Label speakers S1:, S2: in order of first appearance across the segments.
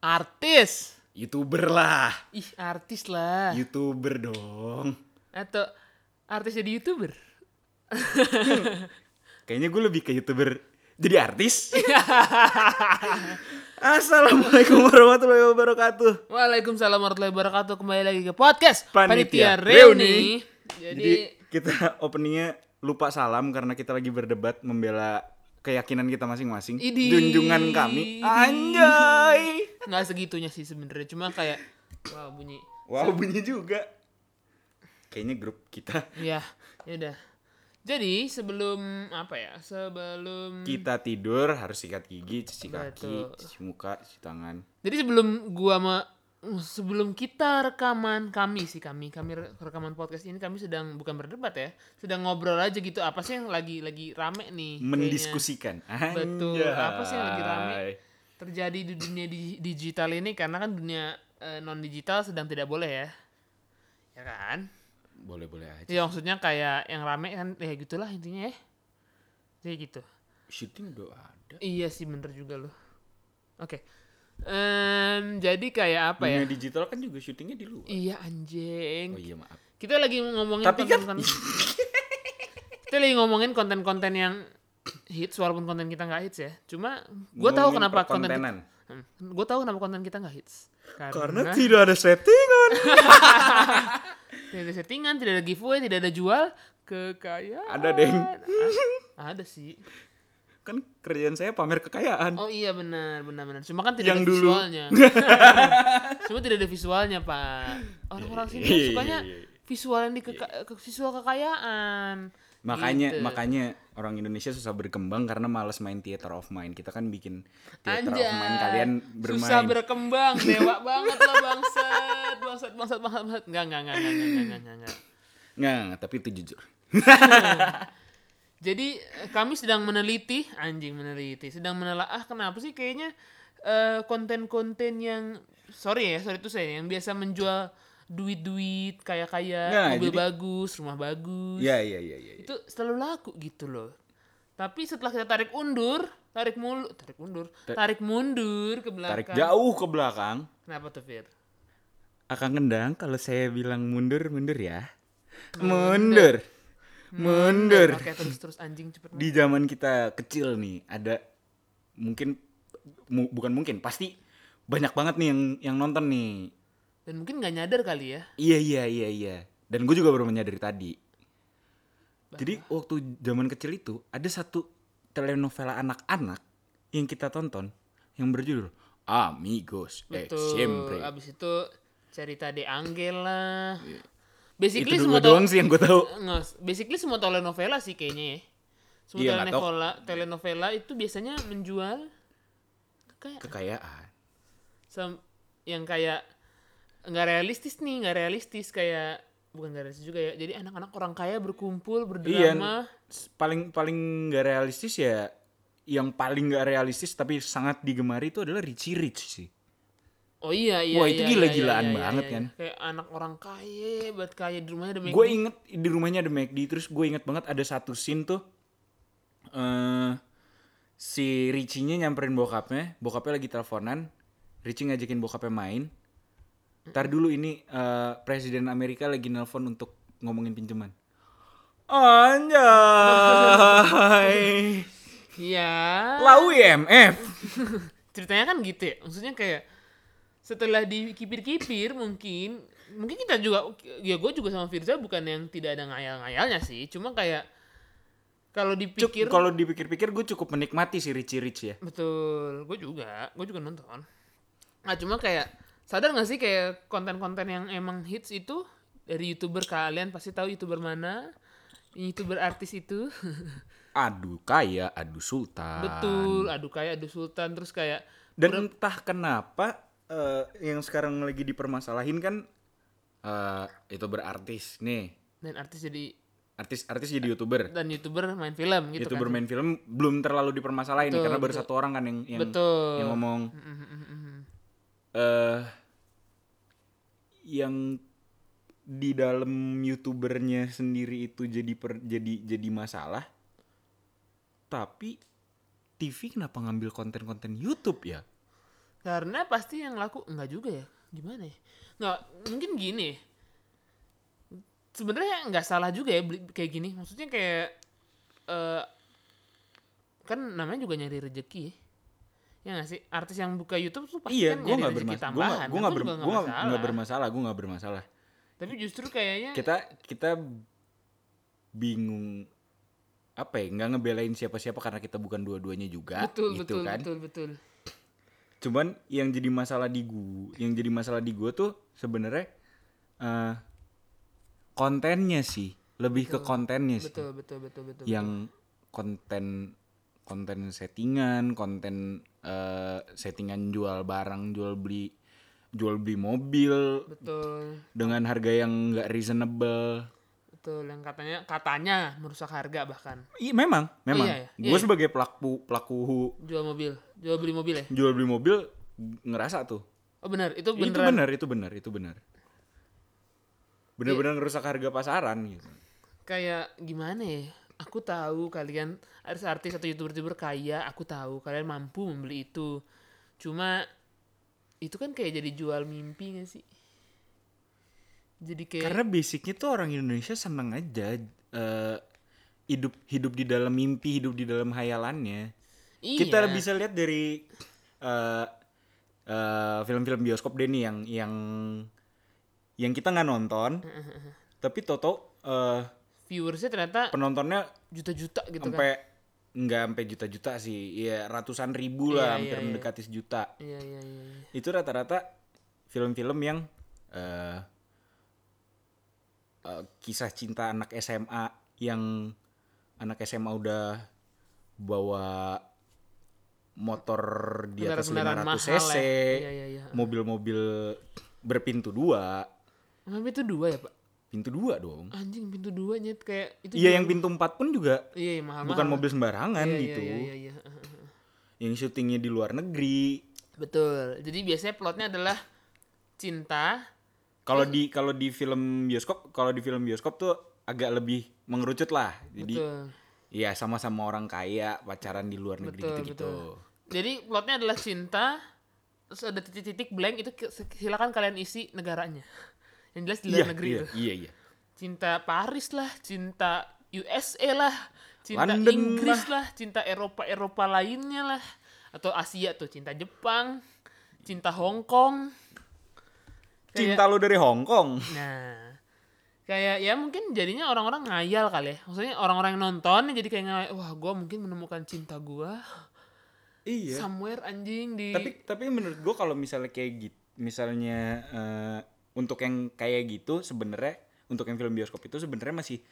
S1: Artis.
S2: Youtuber lah.
S1: Ih, artis lah.
S2: Youtuber dong.
S1: Atau artis jadi YouTuber.
S2: Kayaknya gue lebih ke Youtuber jadi artis. Assalamualaikum warahmatullahi wabarakatuh.
S1: Waalaikumsalam warahmatullahi wabarakatuh. Kembali lagi ke podcast
S2: Panitia
S1: Reuni.
S2: Jadi,
S1: Jadi,
S2: kita openingnya lupa salam karena kita lagi berdebat membela keyakinan kita masing-masing.
S1: Idih.
S2: Junjungan kami. Anjay.
S1: nggak segitunya sih sebenarnya. Cuma kayak wow bunyi.
S2: Wow, bunyi juga. Kayaknya grup kita
S1: Ya, ya udah. Jadi, sebelum apa ya? Sebelum
S2: kita tidur harus sikat gigi, cuci kaki,
S1: Betul.
S2: cuci muka, cuci tangan.
S1: Jadi sebelum gua sama sebelum kita rekaman kami sih kami kami re- rekaman podcast ini kami sedang bukan berdebat ya sedang ngobrol aja gitu apa sih yang lagi lagi rame nih kayaknya.
S2: Mendiskusikan.
S1: Betul. Apa sih yang lagi rame?
S2: Anjay.
S1: terjadi di dunia di- digital ini karena kan dunia non digital sedang tidak boleh ya ya kan
S2: Boleh-boleh aja.
S1: ya maksudnya kayak yang rame kan ya gitulah intinya ya jadi gitu
S2: Shooting udah ada.
S1: iya sih bener juga loh oke Em, jadi kayak apa ya
S2: Dunia digital kan juga syutingnya di luar.
S1: iya anjing
S2: Oh iya maaf.
S1: kita lagi ngomongin
S2: Tapi kan-
S1: konten-konten- kita lagi ngomongin konten-konten yang hits walaupun konten kita nggak hits ya cuma gue tahu
S2: Ngomongin
S1: kenapa konten
S2: perkontenan.
S1: gue tahu kenapa konten kita nggak hits
S2: Karena tidak ada settingan.
S1: tidak ada settingan tidak ada giveaway tidak ada jual kekayaan
S2: Ada, Deng.
S1: Ah, ada sih
S2: kan kerjaan saya pamer kekayaan.
S1: oh iya benar benar benar cuma kan tidak
S2: Yang
S1: ada
S2: dulu.
S1: visualnya cuma tidak ada visualnya pak orang-orang sini kan
S2: Iya, iya,
S1: sukanya
S2: iya, iya.
S1: visual yang di keka- ke- visual kekayaan
S2: Makanya ya,
S1: Gitu.
S2: makanya orang Indonesia susah berkembang karena malas main theater of mind. Kita kan bikin theater
S1: Anjay.
S2: of mind kalian bermain.
S1: Susah berkembang, dewa banget lo bangsat. Bangsat, bangsat, bangsat, bangsat. Enggak, enggak, enggak, enggak, enggak, enggak, enggak, enggak.
S2: Nggak, nggak, tapi itu jujur.
S1: Jadi eh, kami sedang meneliti, anjing meneliti, sedang menelaah kenapa sih kayaknya eh, konten-konten yang sorry ya, sorry itu saya yang biasa menjual duit-duit kaya-kaya,
S2: Nah,
S1: mobil
S2: jadi-
S1: bagus, rumah bagus.
S2: Iya iya iya iya.
S1: Itu selalu laku gitu loh. Tapi setelah kita tarik undur, tarik mulu, tarik undur, tarik mundur ke belakang.
S2: Tarik jauh ke belakang.
S1: Kenapa tuh, Fir?
S2: Akang kendang kalau saya bilang mundur mundur ya. Mundur. Mundur.
S1: Oke terus terus anjing cepet.
S2: Di zaman kita kecil nih ada mungkin mu- bukan mungkin pasti banyak banget nih yang yang nonton nih.
S1: Dan mungkin nggak nyadar kali ya.
S2: Iya iya iya iya. Dan gue juga baru menyadari tadi. Jadi waktu zaman kecil itu ada satu telenovela anak-anak yang kita tonton yang berjudul Amigos eh
S1: Betul.
S2: siempre.
S1: Abis itu cerita de Angel lah.
S2: Iya. Itu
S1: Basically
S2: dua
S1: semua
S2: doang
S1: tau,
S2: sih yang gue tahu.
S1: nggak, basically semua telenovela sih kayaknya ya. Semua
S2: Iya, nggak tahu.
S1: telenovela, telenovela itu biasanya menjual kayak
S2: Kekayaan.
S1: sam- yang kayak nggak realistis nih, nggak realistis kayak bukan nggak realistis juga ya. Jadi anak-anak orang kaya berkumpul
S2: Iya.
S1: berdrama.
S2: s- Paling paling gak realistis ya yang paling gak realistis tapi sangat digemari itu adalah Richie Rich sih.
S1: Oh iya iya.
S2: Wah, itu
S1: iya,
S2: gila-gilaan banget kan.
S1: Kayak anak orang kaya, buat kaya di rumahnya ada
S2: Gue inget di rumahnya ada McD terus gue inget banget ada satu scene tuh eh si Richie-nya nyamperin bokapnya, bokapnya lagi teleponan, Richie ngajakin bokapnya main. Ntar dulu ini eh, presiden Amerika lagi nelpon untuk ngomongin pinjaman. Anjay.
S1: Iya.
S2: Lau IMF.
S1: Ceritanya kan gitu ya. Maksudnya kayak setelah dikipir-kipir mungkin mungkin kita juga ya gue juga sama Firza bukan yang tidak ada ngayal-ngayalnya sih. Cuma kayak kalau
S2: Cuk,
S1: dipikir
S2: Kalau dipikir-pikir gue cukup menikmati si Richie Rich ya.
S1: betul, gue juga, gue juga nonton. Nah, cuma kayak sadar gak sih kayak konten-konten yang emang hits itu dari youtuber kalian pasti tahu youtuber mana, youtuber artis itu.
S2: Aduh kaya, aduh sultan.
S1: Betul, aduh kayak aduh sultan terus kayak
S2: Dan entah kenapa eh, yang sekarang lagi dipermasalahin kan eh, itu berartis nih.
S1: dan artis jadi
S2: Artis-artis jadi youtuber.
S1: dan youtuber main film gitu
S2: youtuber
S1: kan.
S2: main film belum terlalu dipermasalahin nih,
S1: Betul,
S2: karena baru
S1: betul.
S2: satu orang kan yang yang,
S1: Betul.
S2: yang ngomong
S1: Mm, mm, mm, mm, mm.
S2: eh yang di dalam youtubernya sendiri itu jadi per, jadi jadi masalah. Tapi TV kenapa ngambil konten-konten YouTube ya?
S1: Karena pasti yang laku enggak juga ya. Gimana ya? Enggak, mungkin gini. Sebenarnya enggak salah juga ya beli kayak gini. Maksudnya kayak eh kan namanya juga nyari rezeki ya. Ya nggak sih? Artis yang buka YouTube tuh pasti
S2: iya
S1: kan
S2: gue
S1: nyari
S2: nggak
S1: rezeki
S2: bermasalah gue
S1: tambahan.
S2: nggak gue nggak
S1: Aku
S2: ber-
S1: juga
S2: gua nggak-
S1: masalah. Hmm.
S2: nggak bermasalah gue nggak bermasalah
S1: Tapi justru kayaknya
S2: kita kita bingung apa ya nggak ngebelain siapa-siapa karena kita bukan dua-duanya juga
S1: betul
S2: gitu
S1: betul
S2: kan
S1: betul betul.
S2: cuman yang jadi masalah di gua yang jadi masalah di gua tuh sebenarnya eh kontennya sih lebih ke kontennya sih
S1: Betul betul betul betul.
S2: yang konten konten settingan, konten eh, settingan jual barang, jual beli jual beli mobil
S1: Betul.
S2: dengan harga yang nggak reasonable.
S1: Betul yang katanya katanya merusak harga bahkan.
S2: Iya memang, memang.
S1: Iya, iya.
S2: Gue
S1: Iya.
S2: sebagai pelaku pelaku
S1: Jual mobil, jual beli mobil ya.
S2: jual beli mobil ngerasa tuh.
S1: Oh benar, itu
S2: Itu
S1: beneran.
S2: benar, itu benar, itu benar.
S1: Iya.
S2: Bener-bener ngerusak harga pasaran gitu.
S1: kayak gimana ya aku tahu kalian artis-artis atau youtuber-youtuber kaya aku tahu kalian mampu membeli itu cuma itu kan kayak jadi jual mimpi gak sih jadi kayak
S2: Karena basicnya tuh orang Indonesia seneng aja eh, hidup hidup di dalam mimpi, hidup di dalam hayalannya.
S1: iya,
S2: Kita bisa lihat dari eh, eh, film-film bioskop deh nih yang yang yang kita nggak nonton, tapi Toto eh,
S1: viewersnya ternyata
S2: penontonnya
S1: juta-juta gitu kan
S2: sampai nggak sampai juta-juta sih, ya ratusan ribu
S1: Iya,
S2: lah,
S1: iya,
S2: hampir
S1: iya.
S2: mendekati sejuta.
S1: iya iya iya iya.
S2: itu rata-rata film-film yang eh eh, kisah cinta anak SMA yang anak SMA udah bawa motor di atas
S1: Kendaraan-kendaraan mahal
S2: 500 cc,
S1: ya. Iya, iya, iya.
S2: mobil-mobil berpintu dua,
S1: Emang pintu dua ya pak
S2: pintu dua dong.
S1: anjing pintu dua nyet kayak itu
S2: Iya
S1: jual-
S2: yang pintu empat pun juga
S1: iya iya, mahal
S2: bukan mobil sembarangan
S1: iya,
S2: gitu,
S1: iya, iya, iya.
S2: yang syutingnya di luar negeri.
S1: betul jadi biasanya plotnya adalah cinta
S2: Kalau di kalau di film bioskop, kalau di film bioskop tuh agak lebih mengerucut lah. Jadi
S1: betul
S2: ya sama-sama orang kaya, pacaran di luar negeri
S1: Betul,
S2: gitu-gitu.
S1: betul. Jadi plotnya adalah cinta, terus ada titik-titik blank itu ki- silakan kalian isi negaranya. Yang jelas di luar
S2: Iya,
S1: negeri
S2: iya,
S1: itu.
S2: iya, iya.
S1: Cinta Paris lah, cinta USA lah, cinta
S2: London
S1: Inggris lah. cinta Eropa-Eropa lainnya lah. Atau Asia tuh, cinta Jepang, cinta Hong Kong.
S2: Cinta lu dari Hong Kong.
S1: Nah, kayak ya mungkin jadinya orang-orang ngayal kali ya. Maksudnya orang-orang yang nonton jadi kayak ngayal, wah gue mungkin menemukan cinta gue
S2: Iya.
S1: somewhere anjing di...
S2: Tapi tapi menurut gua kalau misalnya kayak gitu, misalnya eh, untuk yang kayak gitu sebenarnya untuk yang film bioskop itu sebenarnya masih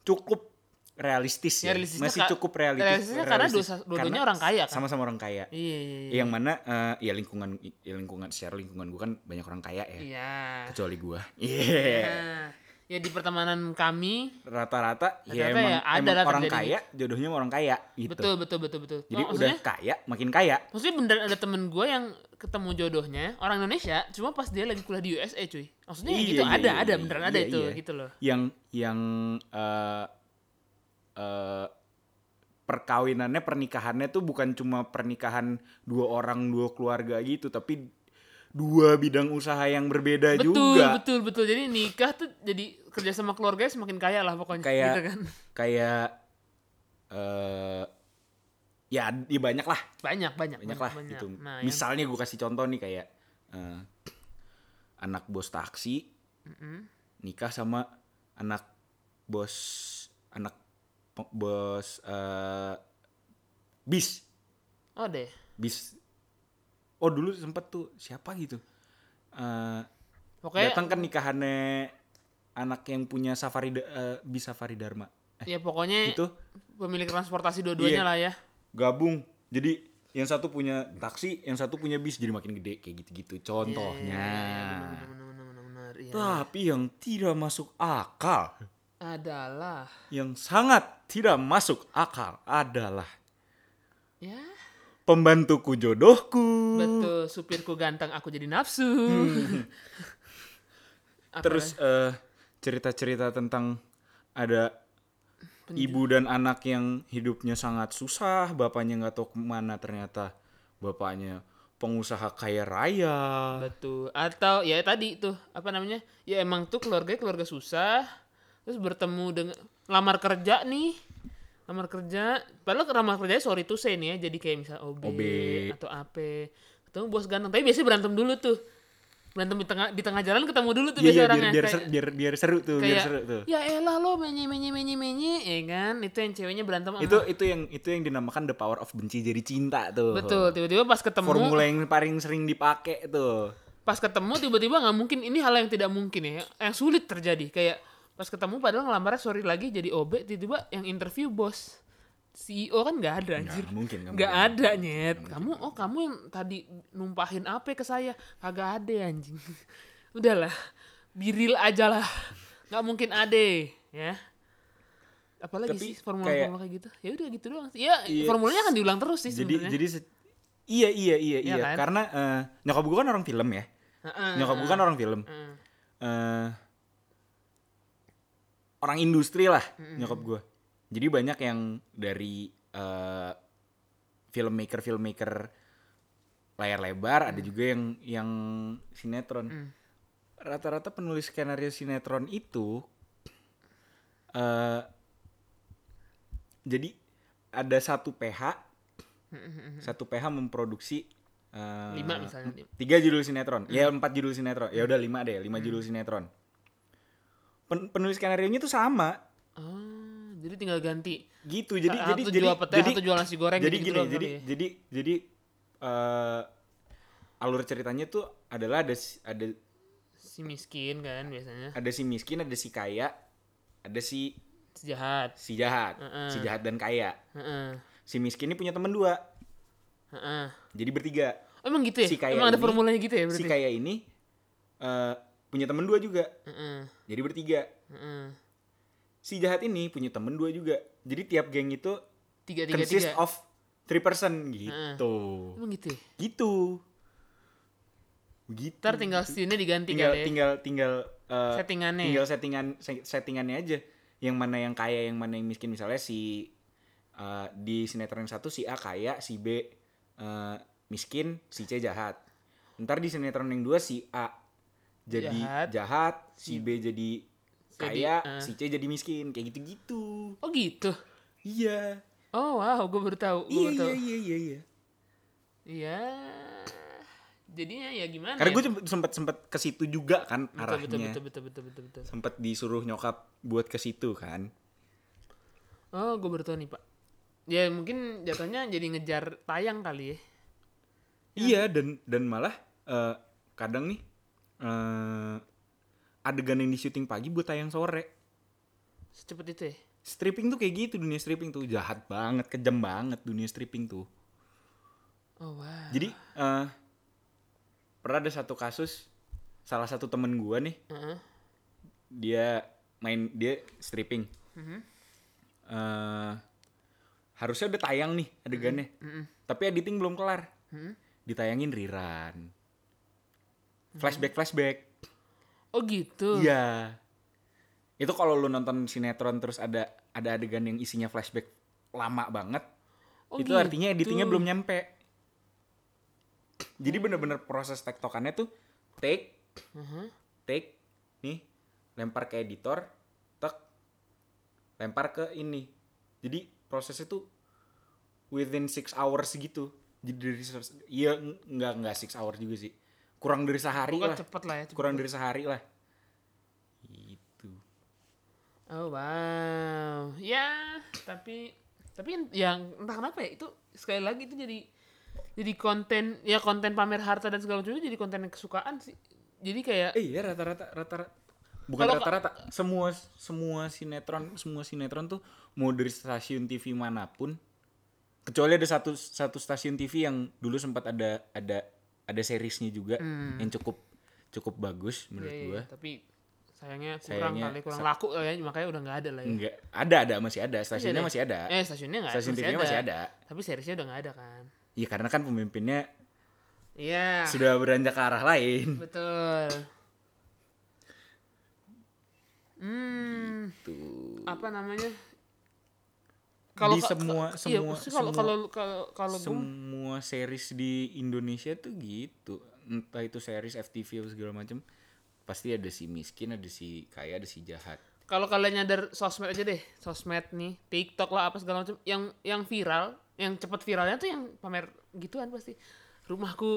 S2: cukup realistis
S1: Ya,
S2: ya.
S1: realistisnya
S2: masih
S1: ka-
S2: cukup realistis.
S1: realistisnya karena
S2: realistis.
S1: dua- dua-duanya orang kaya kan?
S2: Sama-sama orang kaya.
S1: Iya, iya, iya.
S2: Yang mana eh, ya lingkungan ya lingkungan secara lingkungan gua kan banyak orang kaya ya.
S1: Iya.
S2: Kecuali gua. Iya.
S1: Nah, ya di pertemanan kami
S2: rata-rata ya
S1: Rata-rata
S2: emang,
S1: ya ada
S2: emang
S1: lah
S2: orang
S1: terjadi
S2: kaya jodohnya sama orang kaya gitu
S1: betul betul betul betul.
S2: jadi
S1: Oh,
S2: udah
S1: maksudnya,
S2: kaya makin kaya
S1: maksudnya beneran ada temen gue yang ketemu jodohnya orang Indonesia, cuma pas dia lagi kuliah di USA cuy. Maksudnya
S2: Iya,
S1: gitu
S2: iya,
S1: ada
S2: iya,
S1: ada
S2: iya,
S1: beneran
S2: iya,
S1: ada itu
S2: iya.
S1: gitu loh.
S2: yang yang eh eh, perkawinannya pernikahannya tuh bukan cuma pernikahan dua orang dua keluarga gitu tapi dua bidang usaha yang berbeda
S1: Betul
S2: juga
S1: betul betul. Jadi nikah tuh jadi kerja sama keluarga semakin kaya lah pokoknya.
S2: kayak
S1: gitu kan.
S2: kayak eh ya, ya banyak lah
S1: Banyak banyak
S2: banyak lah
S1: banyak.
S2: gitu.
S1: Nah, yang-
S2: Misalnya gue kasih contoh nih kayak eh, anak bos taksi nikah sama anak bos anak pe- bos eh, bis
S1: oh deh.
S2: bis. Oh dulu sempet tuh siapa gitu Eh,
S1: Pokoknya
S2: datang kan nikahannya anak yang punya safari Da- eh, bis safari Dharma
S1: ya pokoknya
S2: itu
S1: pemilik transportasi dua-duanya
S2: eh, gitu. Iya.
S1: lah ya.
S2: gabung jadi yang satu punya taksi yang satu punya bis jadi makin gede kayak
S1: Iya,
S2: gitu-gitu contohnya.
S1: Benar, benar, benar, benar, benar. Iya.
S2: Tapi yang tidak masuk akal,
S1: Adalah
S2: yang sangat tidak masuk akal adalah
S1: ya
S2: pembantuku jodohku.
S1: Betul, supirku ganteng, aku jadi nafsu.
S2: Hmm.
S1: Apa
S2: Terus eh, cerita-cerita tentang ada ibu dan anak yang hidupnya sangat susah, bapaknya nggak tahu kemana ternyata bapaknya pengusaha kaya raya
S1: Betul. Atau ya tadi tuh apa namanya? Ya emang tuh keluarga keluarga susah. Terus bertemu dengan lamar kerja nih. Lamar kerja, padahal lamar kerjanya sorry tuh saya nih ya, jadi kayak misal OB,
S2: OB.
S1: atau AP. Ketemu bos ganteng, tapi biasanya berantem dulu tuh. Berantem di tengah di tengah jalan ketemu dulu tuh biasanya
S2: Iya, iya, biar,
S1: orangnya.
S2: biar,
S1: Kayak-
S2: seru, biar, biar seru tuh biar
S1: kayak,
S2: seru tuh
S1: ya elah lo menye menye menye menye ya kan itu yang ceweknya berantem sama-
S2: itu itu yang itu yang dinamakan the power of benci jadi cinta tuh
S1: betul tiba-tiba pas ketemu
S2: formula yang paling sering dipakai tuh
S1: pas ketemu tiba-tiba nggak mungkin ini hal yang tidak mungkin ya yang sulit terjadi kayak pas ketemu padahal ngelamarnya sorry lagi jadi OB tiba-tiba yang interview bos CEO kan nggak ada anjir
S2: nggak mungkin nggak
S1: nggak
S2: mungkin.
S1: ada nyet kamu oh kamu yang tadi numpahin apa ke saya kagak ada anjing udahlah biril aja lah nggak mungkin ade ya apalagi
S2: Tapi
S1: sih formula-formula kayak, gitu ya udah gitu doang sih. ya
S2: Iya.
S1: formulanya akan diulang terus sih
S2: jadi
S1: sebenarnya
S2: jadi se- iya iya iya
S1: Iya
S2: iya
S1: kan?
S2: karena eh, nyokap gue kan orang film ya
S1: Heeh,
S2: nyokap gue kan orang film
S1: heeh.
S2: eh orang industri lah nyokap gue jadi banyak yang dari eh, filmmaker filmmaker layar lebar
S1: Mm.
S2: ada juga yang yang sinetron rata-rata penulis skenario sinetron itu eh jadi ada satu PH satu PH memproduksi eh,
S1: Lima misalnya.
S2: tiga judul sinetron ya
S1: Hmm.
S2: empat judul sinetron ya udah lima deh lima judul sinetron Pen- penulis skenario nya tuh sama
S1: Ah, jadi tinggal ganti.
S2: gitu jadi
S1: Satu
S2: jadi
S1: jual
S2: jadi-
S1: pete,
S2: jadi
S1: satu jual nasi goreng
S2: jadi
S1: gitu-gitu
S2: gini
S1: doang
S2: jadi
S1: kali ya.
S2: jadi jadi eh, alur ceritanya tuh adalah ada si- ada
S1: Si miskin kan biasanya,
S2: ada si miskin ada si kaya ada si
S1: si jahat.
S2: si jahat
S1: Heeh.
S2: si jahat dan kaya
S1: Heeh.
S2: si miskin ini punya temen dua
S1: heeh.
S2: jadi bertiga
S1: Oh, Emang gitu ya?
S2: Si kaya
S1: Emang ada
S2: ini-
S1: formulanya gitu ya
S2: si
S1: berarti?
S2: kaya ini eh, punya temen dua juga
S1: Heeh,
S2: jadi bertiga
S1: heeh.
S2: si jahat ini punya temen dua juga jadi tiap geng itu
S1: Tiga tiga
S2: consist
S1: tiga.
S2: of three person gitu
S1: Emang gitu ya?
S2: gitu gitu
S1: Ntar tinggal scene-nya diganti
S2: tinggal
S1: kali ya?
S2: tinggal tinggal eh,
S1: Settingannya ya?
S2: tinggal settingan se- settingannya aja yang mana yang kaya yang mana yang miskin misalnya si eh, di sinetron yang satu si A kaya si B eh, miskin si C jahat ntar di sinetron yang dua si A jadi
S1: Jahat.
S2: jahat, si B jadi kaya
S1: eh.
S2: si C jadi miskin kayak gitu gitu
S1: Oh gitu?
S2: iya
S1: Oh wow, gue baru tahu. Gue
S2: iya
S1: baru
S2: iya
S1: tahu.
S2: iya iya iya
S1: Iya. Jadinya ya gimana
S2: karena
S1: ya?
S2: gue sempet sempet ke situ juga kan
S1: betul,
S2: arahnya
S1: betul, betul, betul, betul, betul, betul.
S2: sempet disuruh nyokap buat ke situ kan
S1: Oh, gue baru tahu nih, Pak. Ya mungkin jatuhnya jadi ngejar tayang kali ya.
S2: Iya dan dan malah eh, kadang nih eh adegan yang di syuting pagi buat tayang sore.
S1: Secepat itu ya?
S2: Stripping tuh kayak gitu dunia stripping tuh jahat banget, kejam banget dunia stripping tuh.
S1: Oh wow.
S2: Jadi
S1: Ah.
S2: eh pernah ada satu kasus salah satu temen gua nih
S1: Heeh.
S2: dia main dia stripping.
S1: Mhm.
S2: Eh, harusnya udah tayang nih adegannya, tapi editing belum kelar.
S1: Mhm.
S2: Ditayangin rerun, flashback flashback.
S1: Oh gitu?
S2: Iya. Itu kalau lu nonton sinetron terus ada ada adegan yang isinya flashback lama banget,
S1: Oh,
S2: itu artinya
S1: gitu.
S2: editingnya belum nyampe. Jadi bener-bener proses tektokannya tuh take,
S1: Mhm.
S2: take, nih, lempar ke editor, tek, lempar ke ini. Jadi prosesnya tuh within 6 hours gitu. Jadi dari ses- iya n- nggak nggak 6 hours juga sih. Kurang dari sehari
S1: Pokoknya
S2: lah
S1: cepet lah ya. cepet.
S2: kurang dari sehari lah Gitu. itu
S1: Oh wow. Ya, tapi tapi yang entah kenapa ya itu sekali lagi itu jadi jadi konten ya konten pamer harta dan segala macam itu jadi konten kesukaan sih. Jadi kayak ya,
S2: eh iya rata-rata rata-rata bukan
S1: Kalau-
S2: rata-rata semua semua sinetron semua sinetron tuh mau dari stasiun TV manapun kecuali ada satu satu stasiun TV yang dulu sempat ada ada ada seriesnya juga
S1: Hmm.
S2: yang cukup cukup bagus
S1: ya,
S2: menurut
S1: ya,
S2: gua
S1: tapi sayangnya kurang
S2: Sayangnya
S1: kali kurang
S2: sa-
S1: laku lah ya makanya udah nggak ada lah ya.
S2: enggak ada ada masih ada stasiunnya
S1: ada.
S2: masih ada
S1: Eh stasiunnya nggak
S2: stasiun TV-nya masih ada
S1: Tapi seriesnya udah nggak ada kan.
S2: iya karena kan pemimpinnya
S1: Iya.
S2: sudah beranjak ke arah lain
S1: Betul. Hmm.
S2: tuh
S1: apa namanya
S2: Di semua-
S1: iya,
S2: semua-
S1: maksudnya kalau
S2: semua-
S1: kalau kalau kalau gue
S2: semua semua series di Indonesia tuh gitu entah itu series FTV atau segala macam pasti ada si miskin ada si kaya ada si jahat
S1: Kalau kalian nyadar sosmed aja deh, sosmed nih, TikTok lah apa segala macam, yang yang viral, yang cepet viralnya tuh yang pamer gituan pasti. Rumahku,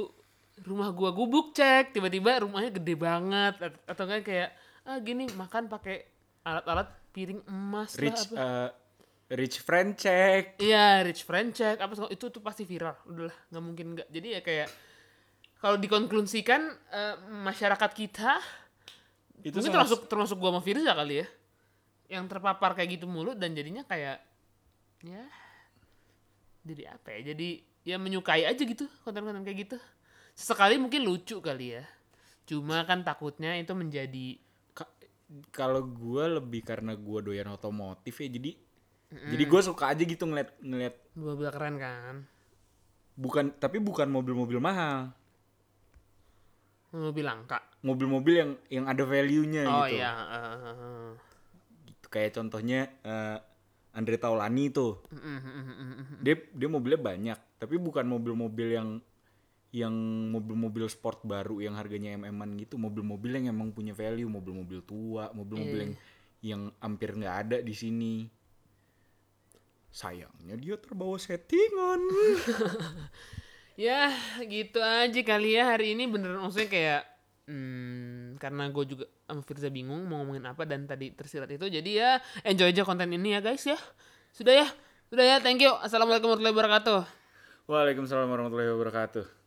S1: rumah gua gubuk cek, tiba-tiba rumahnya gede banget At- atau enggak kayak ah gini makan pakai alat-alat piring emas lah
S2: rich
S1: apa.
S2: eh, rich friend check
S1: Iya, rich friend check apa segala- itu tuh pasti viral. Udahlah, nggak mungkin nggak. Jadi ya kayak kalau dikonklusikan eh, masyarakat kita
S2: itu
S1: mungkin
S2: salah-
S1: termasuk termasuk gua sama Firza kali ya. Yang terpapar kayak gitu mulu dan jadinya kayak ya jadi apa ya? Jadi ya menyukai aja gitu konten-konten kayak gitu. Sesekali mungkin lucu kali ya. Cuma kan takutnya itu menjadi
S2: Ka- kalau gue lebih karena gue doyan otomotif ya jadi jadi gue suka aja gitu ngeliat ngeliat
S1: mobil keren kan.
S2: bukan tapi bukan mobil-mobil mahal
S1: Mobil langka.
S2: mobil-mobil yang yang ada value-nya
S1: Oh
S2: gitu.
S1: iya, eh, eh, eh.
S2: Gitu. kayak contohnya eh, Andre Taulani tuh
S1: Mm, mm, mm, mm, mm, mm.
S2: dia dia mobilnya banyak tapi bukan mobil-mobil yang yang mobil-mobil sport baru yang harganya mm-an gitu mobil-mobil yang emang punya value mobil-mobil tua mobil-mobil
S1: Iya,
S2: yang yang hampir nggak ada di sini sayangnya dia terbawa settingan
S1: Ya gitu aja kali ya hari ini beneran maksudnya kayak hmm, karena gue juga sama Firza bingung mau ngomongin apa dan tadi tersirat itu jadi ya enjoy aja konten ini ya guys ya sudah ya sudah ya thank you assalamualaikum warahmatullahi wabarakatuh
S2: waalaikumsalam warahmatullahi wabarakatuh